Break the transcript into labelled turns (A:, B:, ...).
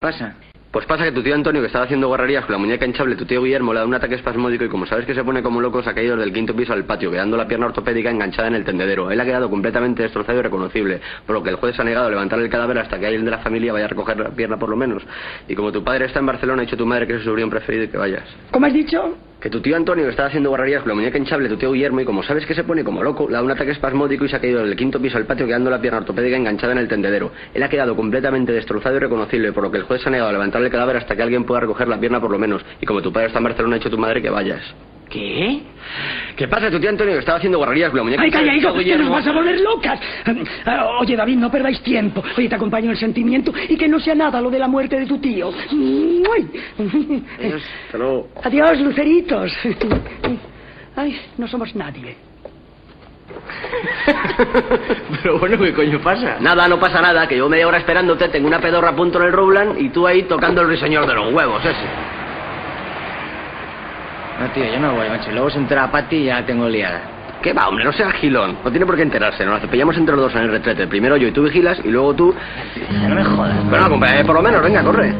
A: Pasa.
B: Pues pasa que tu tío Antonio, que estaba haciendo guarrerías con la muñeca hinchable, tu tío Guillermo le da un ataque espasmódico y como sabes que se pone como loco, se ha caído del quinto piso al patio, quedando la pierna ortopédica enganchada en el tendedero. Él ha quedado completamente destrozado y reconocible, por lo que el juez ha negado a levantar el cadáver hasta que alguien de la familia vaya a recoger la pierna por lo menos. Y como tu padre está en Barcelona, ha dicho tu madre que es su sobrino preferido y que vayas.
A: ¿Cómo has dicho?
B: Que tu tío Antonio que estaba haciendo guarrerías con la muñeca hinchable, tu tío Guillermo, y como sabes que se pone como loco, le da un ataque espasmódico y se ha caído del quinto piso al patio quedando la pierna ortopédica enganchada en el tendedero. Él ha quedado completamente destrozado y reconocible, por lo que el juez se ha negado a levantar el cadáver hasta que alguien pueda recoger la pierna por lo menos. Y como tu padre está en Barcelona, ha dicho tu madre que vayas.
A: ¿Qué?
B: ¿Qué pasa, tu tío Antonio que estaba haciendo guarrerías con la muñeca
A: ¡Ay, calla, hijo! ¡Que
B: Guillermo?
A: nos vas a volver locas! Ah, Oye, David, no perdáis tiempo. Oye, te acompaño en el sentimiento y que no sea nada lo de la muerte de tu tío. ¡Muay!
B: Adiós, hasta luego.
A: Adiós, luceritos. Ay, no somos nadie.
C: Pero bueno, ¿qué coño pasa?
B: Nada, no pasa nada, que yo media hora esperándote, tengo una pedorra a punto en el Rowland y tú ahí tocando el ruiseñor de los huevos, ese.
C: No, tío, yo no voy, macho. Luego se entera Patty y ya la tengo liada.
B: ¿Qué va, hombre? No seas gilón. No tiene por qué enterarse. Nos pillamos entre los dos en el retrete. Primero yo y tú vigilas y luego tú.
C: No me jodas.
B: Bueno, acompáñame por lo menos. Venga, corre.